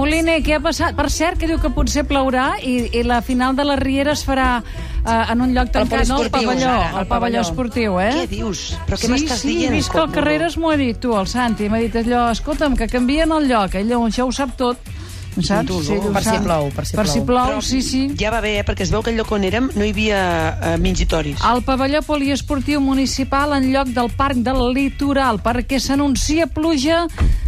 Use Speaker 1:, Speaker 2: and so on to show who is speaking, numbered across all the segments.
Speaker 1: Moliner, què ha passat? Per cert, que diu que potser plourà i, i la final de la Riera es farà eh, en un lloc tancat, no? El
Speaker 2: poliesportiu,
Speaker 1: pavelló,
Speaker 2: ara,
Speaker 1: el pavelló esportiu, eh?
Speaker 2: Què dius? Però què
Speaker 1: sí,
Speaker 2: m'estàs
Speaker 1: sí,
Speaker 2: dient?
Speaker 1: he vist que el
Speaker 2: Coppola?
Speaker 1: Carreras m'ho ha dit, tu, el Santi. M'ha dit allò, escolta'm, que canvien el lloc. Ell això ho sap tot. Em Saps?
Speaker 2: dolor.
Speaker 1: ell ho
Speaker 3: Per si
Speaker 1: sap.
Speaker 3: plou, per si
Speaker 1: per si
Speaker 3: plou.
Speaker 1: plou.
Speaker 2: Però
Speaker 1: sí, sí.
Speaker 2: Ja va bé, eh? perquè es veu que el lloc on érem no hi havia eh, mingitoris.
Speaker 1: Al pavelló poliesportiu municipal en lloc del Parc del Litoral, perquè s'anuncia pluja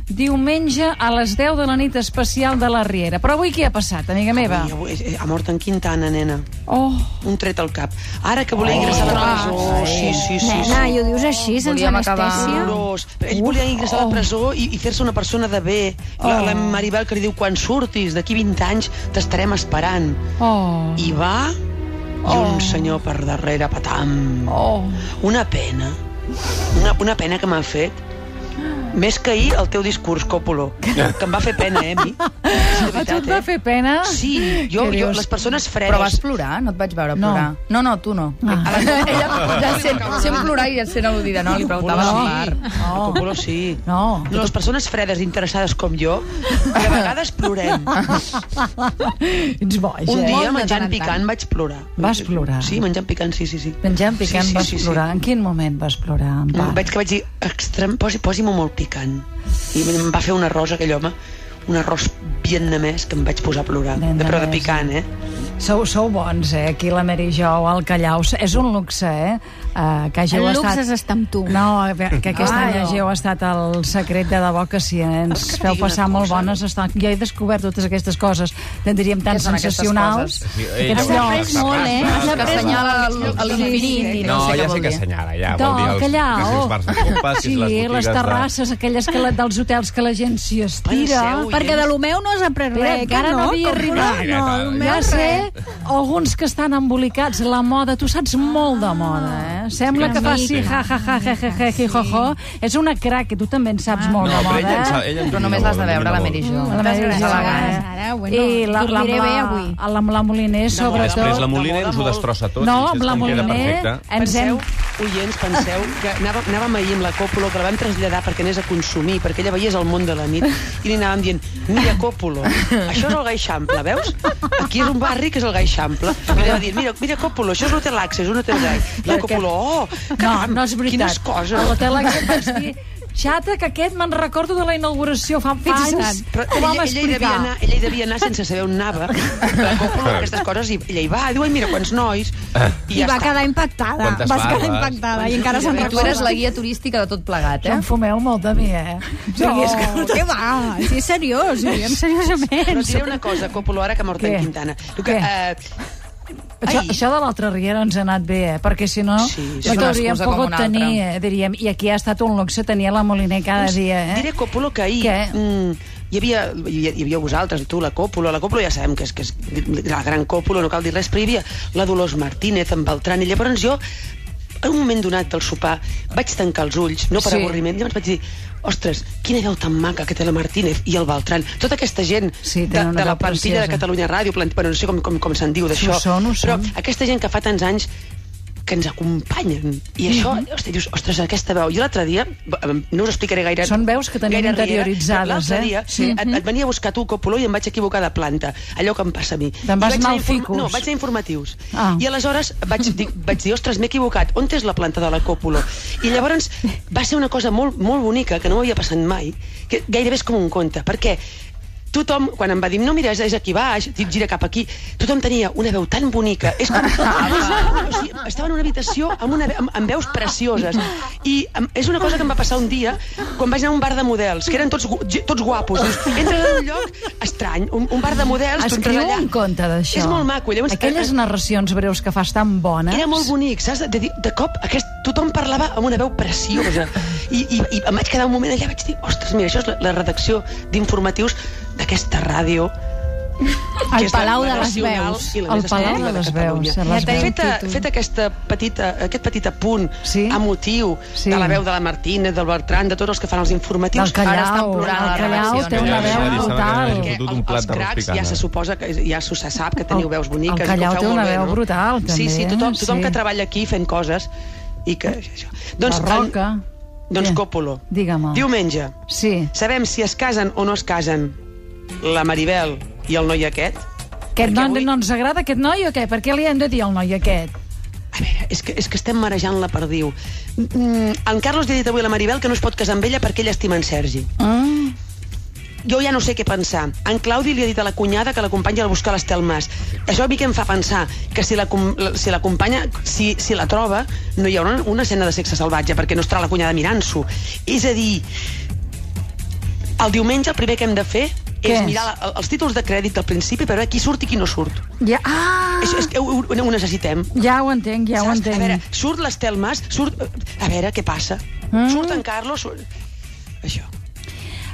Speaker 1: diumenge a les 10 de la nit especial de la Riera. Però avui què ha passat, amiga meva?
Speaker 2: Ui, avui, eh, ha mort en Quintana, nena.
Speaker 1: Oh,
Speaker 2: Un tret al cap. Ara que volia ingressar a la presó... sí, sí, sí.
Speaker 4: Nena,
Speaker 2: sí.
Speaker 4: i ho dius així, sense
Speaker 3: Volíem acabar.
Speaker 4: anestèsia?
Speaker 2: Horrorós. Ell volia ingressar a
Speaker 1: oh.
Speaker 2: la presó i, i fer-se una persona de bé. La, la Maribel que li diu, quan surtis, d'aquí 20 anys t'estarem esperant.
Speaker 1: oh,
Speaker 2: I va... I un senyor per darrere, patam.
Speaker 1: oh.
Speaker 2: Una pena. Una, una pena que m'ha fet. Més que ahir el teu discurs, Còpolo. Que em va fer pena, eh, a mi. Sí, de
Speaker 1: A tu
Speaker 2: veritat,
Speaker 1: et va
Speaker 2: eh?
Speaker 1: fer pena?
Speaker 2: Sí,
Speaker 1: Què
Speaker 2: jo, jo
Speaker 1: dius?
Speaker 2: les persones fredes...
Speaker 3: Però vas plorar? No et vaig veure
Speaker 1: No.
Speaker 3: plorar. No, no, tu no. Ah. Ella ja sent, sent plorar i ja sent al·ludida, no? Li preguntava
Speaker 2: Còpolo,
Speaker 3: no.
Speaker 2: sí.
Speaker 3: la
Speaker 2: No. El Còpolo, sí.
Speaker 1: No.
Speaker 2: No, les persones fredes interessades com jo, de vegades plorem.
Speaker 1: Ets boja,
Speaker 2: Un dia,
Speaker 3: de tant
Speaker 2: menjant
Speaker 3: en tant.
Speaker 2: picant, vaig plorar.
Speaker 1: Vas plorar?
Speaker 2: Sí, menjant picant, sí, sí, sí.
Speaker 1: Menjant picant
Speaker 2: Sí, sí,
Speaker 1: vas
Speaker 2: sí, sí.
Speaker 1: plorar. En quin moment vas plorar? En
Speaker 2: Va.
Speaker 1: Parc?
Speaker 2: Veig que vaig dir, extrem, posi, posi-m'ho molt picant. I em va fer un arròs, aquell home, un arròs vietnamès que em vaig posar a plorar. De, però de
Speaker 1: Vietnamès.
Speaker 2: picant, eh?
Speaker 1: Sou, sou bons, eh? Aquí la Mary Jo al Callau. És un luxe, eh? Uh, que hàgiu
Speaker 4: El luxe
Speaker 1: estat...
Speaker 4: és estar amb tu.
Speaker 1: No, que que aquest
Speaker 3: Ah,
Speaker 1: any
Speaker 3: no.
Speaker 1: hàgiu estat el secret de debò, que si ens
Speaker 2: Vols que et
Speaker 1: feu
Speaker 2: digui una
Speaker 1: passar molt
Speaker 2: cosa?
Speaker 1: bones... Estan... Jo he descobert totes aquestes coses, en diríem, tan
Speaker 3: Què són aquestes
Speaker 1: sensacionals.
Speaker 3: coses?
Speaker 5: Sí, ei,
Speaker 1: Aquests
Speaker 5: ja ho
Speaker 1: llocs.
Speaker 5: saps,
Speaker 4: molt, eh?
Speaker 5: saps,
Speaker 4: Has
Speaker 5: saps,
Speaker 3: Que
Speaker 5: saps.
Speaker 3: assenyala l- a l'infinit. i
Speaker 5: No,
Speaker 3: sé què
Speaker 5: ja sé
Speaker 3: vol
Speaker 5: que
Speaker 3: dir.
Speaker 5: assenyala, ja.
Speaker 1: No,
Speaker 5: vol dir els,
Speaker 1: callau.
Speaker 5: que si els bars de copas,
Speaker 1: oh. Sí,
Speaker 5: si les
Speaker 1: les,
Speaker 5: botigues de-
Speaker 1: terrasses, aquelles que la, dels hotels que la gent s'hi estira.
Speaker 2: Penseu-hi.
Speaker 4: Perquè de lo meu no has après
Speaker 1: Espera,
Speaker 4: res,
Speaker 1: encara no,
Speaker 4: no
Speaker 1: havia arribat.
Speaker 5: no, no, no,
Speaker 1: ja sé, alguns que estan embolicats, la moda, tu saps molt de moda, eh? Sembla
Speaker 5: Sí,
Speaker 1: que
Speaker 5: sí,
Speaker 1: faci
Speaker 5: sí.
Speaker 1: ha, ha, ha, he, he, he, hi, ho, ho. És una crac, que tu també en saps molt
Speaker 5: No,
Speaker 1: de
Speaker 5: però ella en
Speaker 1: moda,
Speaker 5: sap,
Speaker 1: eh?
Speaker 5: ella
Speaker 3: Però
Speaker 5: en domina
Speaker 3: només
Speaker 5: molt,
Speaker 3: l'has de veure,
Speaker 5: domina
Speaker 3: la
Speaker 5: molt.
Speaker 3: Mary Jo.
Speaker 1: Mm, La
Speaker 4: Moltes
Speaker 1: Mary
Speaker 4: gràcies,
Speaker 1: Jo,
Speaker 4: Sara.
Speaker 1: eh?
Speaker 4: Sara, bueno,
Speaker 1: I la, la,
Speaker 4: dormiré bé
Speaker 1: la,
Speaker 4: avui.
Speaker 1: la, amb la Moliner,
Speaker 5: Després la
Speaker 1: sobretot.
Speaker 5: Moliner ens ho destrossa tot.
Speaker 1: No,
Speaker 5: i
Speaker 1: amb la
Speaker 5: em queda
Speaker 1: Moliner
Speaker 5: perfecte.
Speaker 1: ens hem...
Speaker 2: Penseu, oients, penseu que anàvem, anàvem ahir amb la Còpolo, que la vam traslladar perquè anés a consumir, perquè ella veiés el món de la nit, i li anàvem dient, mira, Còpolo, això és el Gaixample, veus? Aquí és un barri que és el Gaixample. I li anava dient, mira, mira Còpolo, això és l'hotel Axe, és un hotel gai. I la Còpolo, oh,
Speaker 1: No,
Speaker 2: caram,
Speaker 1: no és veritat.
Speaker 2: quines coses.
Speaker 1: A l'hotel aquest vaig dir... Xata, que aquest me'n recordo de la inauguració fa fa
Speaker 2: Fixa't,
Speaker 1: anys.
Speaker 2: però
Speaker 1: Ho vam
Speaker 2: ella, ella, hi devia
Speaker 1: explicar.
Speaker 2: anar, ella hi devia anar sense saber on anava. La Còpolo, aquestes coses, i ella hi va, diu, ai, mira, quants nois. I,
Speaker 4: I
Speaker 2: ja
Speaker 4: va
Speaker 2: està.
Speaker 4: quedar impactada.
Speaker 5: Quantes
Speaker 4: Vas quedar
Speaker 5: barbes.
Speaker 4: impactada i encara se'n
Speaker 3: I tu eres
Speaker 4: recorda.
Speaker 3: la guia turística de tot plegat, eh?
Speaker 1: Em fumeu molt de mi, eh?
Speaker 4: No,
Speaker 1: O sigui, és que-
Speaker 4: què va? Sí, és seriós, ho diem seriosament.
Speaker 2: Però et diré una cosa, Còpolo, ara que ha mort
Speaker 1: Què?
Speaker 2: en Quintana. Diu que,
Speaker 1: Què?
Speaker 2: eh,
Speaker 1: Això,
Speaker 2: Ai.
Speaker 1: això de l'altra riera ens ha anat bé, eh? perquè si no,
Speaker 2: Sí, és
Speaker 1: no
Speaker 2: una
Speaker 1: t'hauríem
Speaker 3: excusa com
Speaker 1: pogut
Speaker 3: una altra.
Speaker 1: tenir, eh? diríem. I aquí ha estat un luxe tenir la Moliner cada dia. Eh?
Speaker 2: diré Còpolo que ahir...
Speaker 1: Què?
Speaker 2: Mm, hi havia, hi hi havia vosaltres, tu, la Còpolo, la Còpolo ja sabem que és, que és la gran Còpolo, no cal dir res, però hi havia la Dolors Martínez, en Beltran, i llavors jo en un moment donat del sopar vaig tancar els ulls, no per
Speaker 1: Sí.
Speaker 2: sí. avorriment, llavors vaig dir, ostres, quina veu tan maca que té la Martínez i el Beltran. Tota aquesta gent
Speaker 1: Sí,
Speaker 2: de,
Speaker 1: tenen una
Speaker 2: de la
Speaker 1: veu
Speaker 2: plantilla
Speaker 1: preciosa.
Speaker 2: de Catalunya Ràdio, plant... bueno, no sé com, com, com se'n diu d'això,
Speaker 1: Ho són, ho
Speaker 2: però
Speaker 1: són.
Speaker 2: aquesta gent que fa tants anys que ens acompanyen. I això,
Speaker 1: Mhm.
Speaker 2: ostres, dius, ostres, aquesta veu. Jo l'altre dia, eh, no us explicaré gaire...
Speaker 1: Són veus que tenim
Speaker 2: gaire riera,
Speaker 1: interioritzades,
Speaker 2: però L'altre
Speaker 1: eh?
Speaker 2: dia
Speaker 1: Sí.
Speaker 2: sí. et, et venia a buscar tu, Copoló, i em vaig equivocar de planta. Allò que em passa a mi.
Speaker 1: Te'n
Speaker 2: I
Speaker 1: vas
Speaker 2: vaig
Speaker 1: anar al
Speaker 2: a inform-
Speaker 1: ficus.
Speaker 2: No, vaig a informatius.
Speaker 1: Ah.
Speaker 2: Ah. I aleshores vaig, dir, vaig dir, ostres, m'he equivocat, on és la planta de la Còpolo? I llavors va ser una cosa molt, molt bonica, que no m'havia passat mai, que gairebé és com un conte, perquè tothom, quan em va dir, no, mira, és, és aquí baix, dit, gira cap aquí, tothom tenia una veu tan bonica, és com... o sigui, estava en una habitació amb, una, ve- amb, amb veus precioses, i em, és una cosa que em va passar un dia quan vaig anar a un bar de models, que eren tots, gu- ge- tots guapos, dius, entres en un lloc estrany, un, un bar de models, tu entres
Speaker 1: Escriu
Speaker 2: allà...
Speaker 1: un conte d'això.
Speaker 2: És molt maco, llavors... eh,
Speaker 1: Aquelles narracions breus que fas tan bones...
Speaker 2: Era molt bonic, saps? De, de, de cop aquest, tothom parlava amb una veu preciosa. I, i, I em vaig quedar un moment allà i vaig dir, ostres, mira, això és la, la redacció d'informatius d'aquesta ràdio
Speaker 4: El
Speaker 2: que és la-
Speaker 4: Palau de
Speaker 2: la
Speaker 4: les
Speaker 2: nacional
Speaker 4: Veus.
Speaker 2: i la
Speaker 1: El
Speaker 2: més
Speaker 1: Palau
Speaker 2: escoltada
Speaker 1: de les
Speaker 2: Catalunya.
Speaker 1: Veus, les
Speaker 4: veus.
Speaker 2: fet, a,
Speaker 4: Títol.
Speaker 2: fet aquesta petita, aquest petit apunt
Speaker 1: Sí.
Speaker 2: emotiu
Speaker 1: Sí.
Speaker 2: de la veu de la Martina, del Bertran, de tots els que fan els
Speaker 1: Del
Speaker 2: informatius,
Speaker 1: Callau,
Speaker 2: ara estan plorant.
Speaker 1: del
Speaker 2: a la
Speaker 1: Callau
Speaker 2: redacció.
Speaker 1: té una veu
Speaker 5: Perquè
Speaker 1: brutal.
Speaker 5: els-
Speaker 2: Perquè
Speaker 5: Fotut un
Speaker 2: el-
Speaker 5: plat
Speaker 2: els
Speaker 5: de arròs
Speaker 2: cracs
Speaker 5: picant,
Speaker 2: ja se
Speaker 5: eh?
Speaker 2: suposa que ja se, se sap que teniu
Speaker 1: El-
Speaker 2: veus boniques.
Speaker 1: el
Speaker 2: i que ho
Speaker 1: Callau
Speaker 2: feu
Speaker 1: té
Speaker 2: molt
Speaker 1: una
Speaker 2: bé,
Speaker 1: veu
Speaker 2: no?
Speaker 1: brutal, també,
Speaker 2: Sí, sí, tothom,
Speaker 1: eh?
Speaker 2: tothom
Speaker 1: Sí.
Speaker 2: que treballa aquí fent coses i que... Això. Doncs,
Speaker 1: La Roca.
Speaker 2: En, doncs
Speaker 1: Què? Ah.
Speaker 2: Còpolo.
Speaker 1: Digue'm.
Speaker 2: Diumenge.
Speaker 1: Sí.
Speaker 2: Sabem si es casen o no es casen. la Maribel i el noi aquest...
Speaker 1: Aquest
Speaker 2: Perquè
Speaker 1: noi
Speaker 2: avui-
Speaker 1: no ens agrada, aquest noi, o què? Per què li hem de dir al noi aquest?
Speaker 2: A veure, és que, és que estem marejant la perdiu. Mm, en Carlos li ha dit avui a la Maribel que no es pot casar amb ella perquè ell estima en Sergi.
Speaker 1: Mm.
Speaker 2: Jo ja no sé què pensar. En Claudi li ha dit a la cunyada que l'acompanya a buscar l'Estel Mas. Això a mi què em fa pensar? Que si la com- la- si l'acompanya, si, si la troba, no hi haurà una, una escena de sexe salvatge, perquè no estarà la cunyada mirant-s'ho. És a dir, el diumenge el primer que hem de fer
Speaker 1: Què
Speaker 2: és
Speaker 1: és?
Speaker 2: mirar la, els títols de crèdit al principi per veure qui surt i qui no surt.
Speaker 1: Ja, ah!
Speaker 2: Això és que ho, ho, ho necessitem.
Speaker 1: Ja ho entenc, ja ho
Speaker 2: Saps?
Speaker 1: entenc.
Speaker 2: A veure, surt l'Estel Mas, surt... A veure, què passa?
Speaker 1: Mm.
Speaker 2: Mm. Surt en Carlos, surt... Això.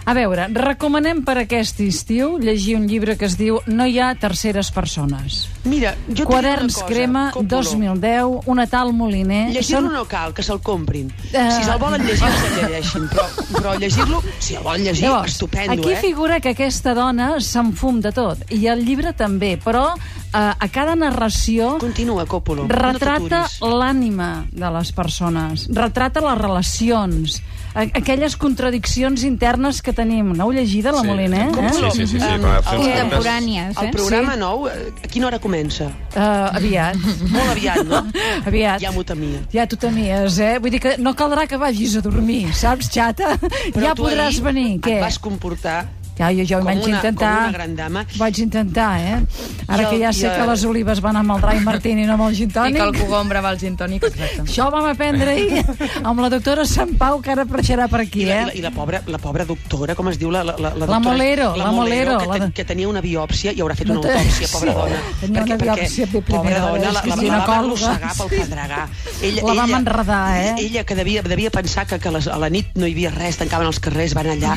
Speaker 1: A veure, recomanem per aquest estiu llegir un llibre que es diu No hi ha terceres persones.
Speaker 2: Mira, jo et diré una
Speaker 1: Quaderns
Speaker 2: cosa,
Speaker 1: Crema,
Speaker 2: Coppola.
Speaker 1: 2010, una tal Moliner...
Speaker 2: Llegir-lo no cal, que se'l comprin.
Speaker 1: Eh.
Speaker 2: Si se'l volen llegir, se'l llegeixin. Però, però llegir-lo, si el volen llegir,
Speaker 1: Llavors,
Speaker 2: estupendo,
Speaker 1: aquí
Speaker 2: eh?
Speaker 1: figura que aquesta dona s'enfum de tot, i el llibre també, però eh, a cada narració...
Speaker 2: Continua, Còpolo.
Speaker 1: retrata
Speaker 2: No
Speaker 1: l'ànima de les persones, retrata les relacions, a- aquelles contradiccions internes que tenim. No ho llegida, la
Speaker 5: Sí.
Speaker 1: Moliner?
Speaker 5: Com
Speaker 1: Eh?
Speaker 5: Sí, sí, sí, sí,
Speaker 2: Em,
Speaker 5: va
Speaker 2: el-
Speaker 5: fer uns comptes.
Speaker 4: Contemporànies,
Speaker 2: el
Speaker 4: eh?
Speaker 2: programa nou, eh, a quina hora comença?
Speaker 1: Uh, aviat.
Speaker 2: Molt aviat, no?
Speaker 1: Aviat.
Speaker 2: Ja m'ho temia.
Speaker 1: Ja t'ho temies, eh? Vull dir que no caldrà que vagis a dormir, saps, xata?
Speaker 2: Però
Speaker 1: ja
Speaker 2: tu
Speaker 1: podràs
Speaker 2: ahir
Speaker 1: venir,
Speaker 2: Et
Speaker 1: què?
Speaker 2: vas comportar
Speaker 1: Ja, jo, jo
Speaker 2: com
Speaker 1: vaig
Speaker 2: una-
Speaker 1: intentar...
Speaker 2: com una gran dama.
Speaker 1: Vaig intentar, eh? Ara
Speaker 2: Jo-
Speaker 1: que ja sé
Speaker 2: jo-
Speaker 1: que les olives van amb el Rai Martini, no amb el gin
Speaker 3: I
Speaker 1: tònic.
Speaker 3: que el cogombre va al gin tònic, exacte.
Speaker 1: Això ho vam aprendre ahir amb la doctora Sant Pau, que ara apareixerà per aquí,
Speaker 2: I la, i, la,
Speaker 1: eh?
Speaker 2: I la pobra, la pobra doctora, com es diu? La, la, la,
Speaker 1: La
Speaker 2: doctora-
Speaker 1: Molero, la Molero,
Speaker 2: Que,
Speaker 1: la
Speaker 2: ten,
Speaker 1: de-
Speaker 2: que tenia una biòpsia i haurà fet
Speaker 1: No
Speaker 2: una
Speaker 1: té-
Speaker 2: autòpsia, pobra
Speaker 1: sí.
Speaker 2: dona.
Speaker 1: Tenia una biòpsia de
Speaker 2: pobra
Speaker 1: primera
Speaker 2: dona,
Speaker 1: vegada,
Speaker 2: la,
Speaker 1: és
Speaker 2: la, la, la va
Speaker 1: ginecòloga.
Speaker 2: arrossegar pel pedregar. Ella,
Speaker 1: La vam enredar, eh?
Speaker 2: Ella que devia, devia pensar que, que les, a la nit no hi havia res, tancaven els carrers, van allà...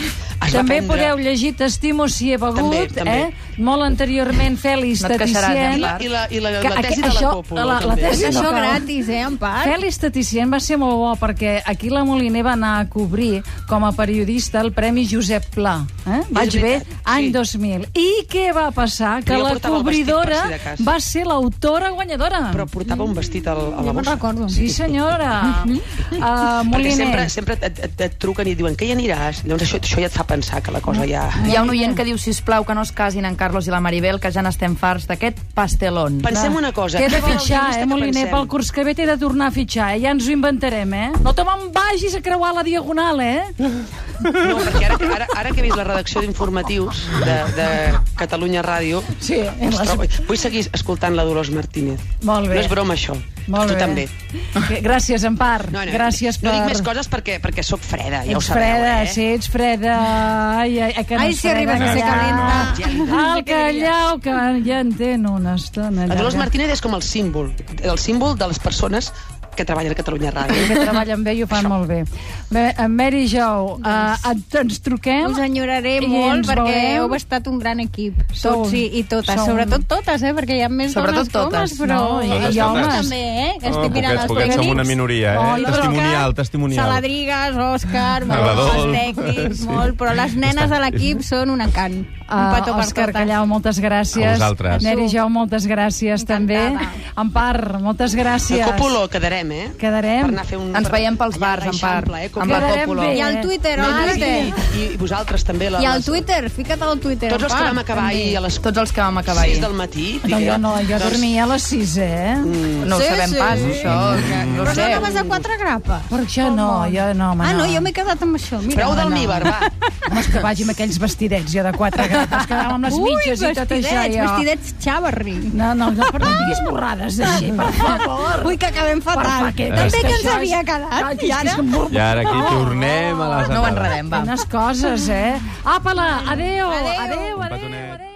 Speaker 2: Es
Speaker 1: També
Speaker 2: va prendre...
Speaker 1: podeu llegir T'estimo si he begut,
Speaker 2: També, també.
Speaker 1: eh? Molt anteriorment, Fèlix,
Speaker 3: No et queixaràs,
Speaker 1: Taticien.
Speaker 2: I la, i la, i la,
Speaker 1: Que
Speaker 2: la tesi
Speaker 1: aqu-
Speaker 2: de la
Speaker 1: això-
Speaker 2: còpula,
Speaker 1: la- la
Speaker 2: també.
Speaker 1: tesi-
Speaker 4: Sí. És això
Speaker 1: No cal.
Speaker 4: gratis, eh, en part.
Speaker 1: Fèlix Taticien va ser molt bo perquè aquí la Moliner va anar a cobrir com a periodista el Premi Josep Pla. Eh? Vaig bé,
Speaker 2: veritat,
Speaker 1: any
Speaker 2: sí.
Speaker 1: 2000. I què va passar? Que
Speaker 2: Jo
Speaker 1: la
Speaker 2: portava el vestit,
Speaker 1: cobridora
Speaker 2: per si de cas.
Speaker 1: va ser l'autora guanyadora.
Speaker 2: Però portava un vestit al, a la
Speaker 4: Jo me'n
Speaker 2: bossa.
Speaker 4: recordo.
Speaker 1: Sí, senyora. Uh,
Speaker 2: Perquè
Speaker 1: Moliner.
Speaker 2: sempre, sempre et, et, et truquen i et diuen que hi aniràs. Llavors això, això ja et fa pensar que la cosa ja...
Speaker 3: Hi ha un oient que diu, sisplau, que no es casin en Carlos i la Maribel, que ja n'estem farts d'aquest pastelón.
Speaker 2: Pensem una cosa.
Speaker 1: T'he de
Speaker 2: què vol el
Speaker 1: fitxar,
Speaker 2: guionista
Speaker 1: eh,
Speaker 2: que
Speaker 1: Moliner,
Speaker 2: pensem?
Speaker 1: pel curs que ve t'he de tornar a fitxar, eh? Ja ens ho inventarem, eh? No te me'n vagis a creuar la diagonal, eh?
Speaker 2: No, perquè ara, que- ara, ara que he vist la redacció d'informatius de, de Catalunya Ràdio,
Speaker 1: Sí,
Speaker 2: es trobo, vull seguir escoltant la Dolors Martínez.
Speaker 1: Eh, Molt bé.
Speaker 2: No és broma, això.
Speaker 1: Molt
Speaker 2: tu
Speaker 1: bé.
Speaker 2: també.
Speaker 1: Que- Gràcies, Empar. Gràcies
Speaker 2: no
Speaker 1: per...
Speaker 2: dic més coses perquè, perquè sóc freda, ja ho
Speaker 1: Ets
Speaker 2: sabeu,
Speaker 1: freda,
Speaker 2: eh?
Speaker 1: sí, ets freda. Ai, ai, ai, que no
Speaker 4: Ai,
Speaker 1: ets
Speaker 4: si arribes
Speaker 1: freda,
Speaker 4: a ser
Speaker 1: callar.
Speaker 2: calenta.
Speaker 1: Al Ah, callau, que ja en tenen una estona.
Speaker 2: La Dolors
Speaker 1: llarga.
Speaker 2: Martínez és com el símbol, el símbol de les persones que treballen a Catalunya
Speaker 1: que
Speaker 2: Ràdio.
Speaker 1: treballen bé i ho fan molt bé. bé en Mary Jo, eh, et- ens truquem.
Speaker 4: Us enyoraré
Speaker 1: I
Speaker 4: molt
Speaker 1: ens
Speaker 4: perquè
Speaker 1: veurem.
Speaker 4: heu estat un gran equip,
Speaker 1: Sou-
Speaker 4: tots i, i totes,
Speaker 1: sou-
Speaker 4: sobretot totes, eh, perquè hi ha més
Speaker 3: Sobretot
Speaker 4: dones que homes,
Speaker 3: totes,
Speaker 4: però
Speaker 1: no, i-
Speaker 4: Eh,
Speaker 5: i homes.
Speaker 4: també, eh,
Speaker 5: Oh,
Speaker 4: que estic mirant
Speaker 5: poquets,
Speaker 4: els
Speaker 5: poquets, som una minoria, eh?
Speaker 1: Ai, però
Speaker 5: testimonial, testimonial.
Speaker 4: Saladrigues,
Speaker 5: A
Speaker 4: Òscar,
Speaker 5: la
Speaker 4: molt,
Speaker 5: Dol.
Speaker 4: els tècnics,
Speaker 5: Sí.
Speaker 4: molt, però les nenes de l'equip són un encant. Un petó
Speaker 1: Uh,
Speaker 4: per
Speaker 1: Òscar
Speaker 4: totes.
Speaker 1: Callau, moltes gràcies.
Speaker 5: A vosaltres.
Speaker 1: Neri Jo, moltes gràcies
Speaker 4: Encantada.
Speaker 1: també. Empar, moltes gràcies.
Speaker 2: A Còpolo quedarem, eh?
Speaker 1: Quedarem.
Speaker 2: Per anar a fer un...
Speaker 3: Ens veiem pels
Speaker 2: allà a
Speaker 3: bars, en part.
Speaker 2: l'Eixample, Eh,
Speaker 3: Amb
Speaker 2: Còpolo?
Speaker 3: la
Speaker 1: Quedarem
Speaker 3: còpula.
Speaker 1: bé.
Speaker 4: I al Twitter,
Speaker 2: No,
Speaker 4: al
Speaker 2: i-
Speaker 4: Twitter.
Speaker 2: i, I vosaltres també. La,
Speaker 4: I al
Speaker 2: les-
Speaker 4: Twitter, fica't al Twitter.
Speaker 2: Tots els que
Speaker 4: va,
Speaker 2: vam acabar
Speaker 4: també.
Speaker 2: ahir a les
Speaker 3: Tots els que vam acabar
Speaker 2: 6
Speaker 3: ahir.
Speaker 2: del matí.
Speaker 1: No, jo no, jo
Speaker 2: Doncs- Mm.
Speaker 1: dormia a les 6, eh?
Speaker 3: No ho
Speaker 4: Sí,
Speaker 3: sabem
Speaker 4: sí.
Speaker 3: pas, això. que No ho
Speaker 4: Però no
Speaker 3: sé.
Speaker 4: anaves a quatre grapes.
Speaker 1: Per això no, jo no, home,
Speaker 4: Ah, no,
Speaker 1: no.
Speaker 4: jo m'he quedat amb això. Mira.
Speaker 2: Prou del míbar, va.
Speaker 1: Home, és que vagi amb aquells vestidets, jo de quatre grapes, que anava amb les
Speaker 4: Ui,
Speaker 1: mitges i tot
Speaker 4: vestidets,
Speaker 1: això, jo.
Speaker 4: vestidets xavarri.
Speaker 1: No, no, no, però no diguis borrades d'així, per favor.
Speaker 4: Ui, que acabem fatal.
Speaker 1: què-
Speaker 4: També
Speaker 1: és
Speaker 4: que ens
Speaker 1: això és-
Speaker 4: havia
Speaker 1: Ah, és
Speaker 4: quedat. I
Speaker 1: que és
Speaker 4: ara...
Speaker 1: un bor-
Speaker 5: I ara aquí tornem a les
Speaker 3: No ho enredem, va.
Speaker 1: Quines coses, eh? Apa-la, adeu, adeu, adeu,
Speaker 5: Un
Speaker 1: adeu,
Speaker 5: petonet.
Speaker 1: adeu.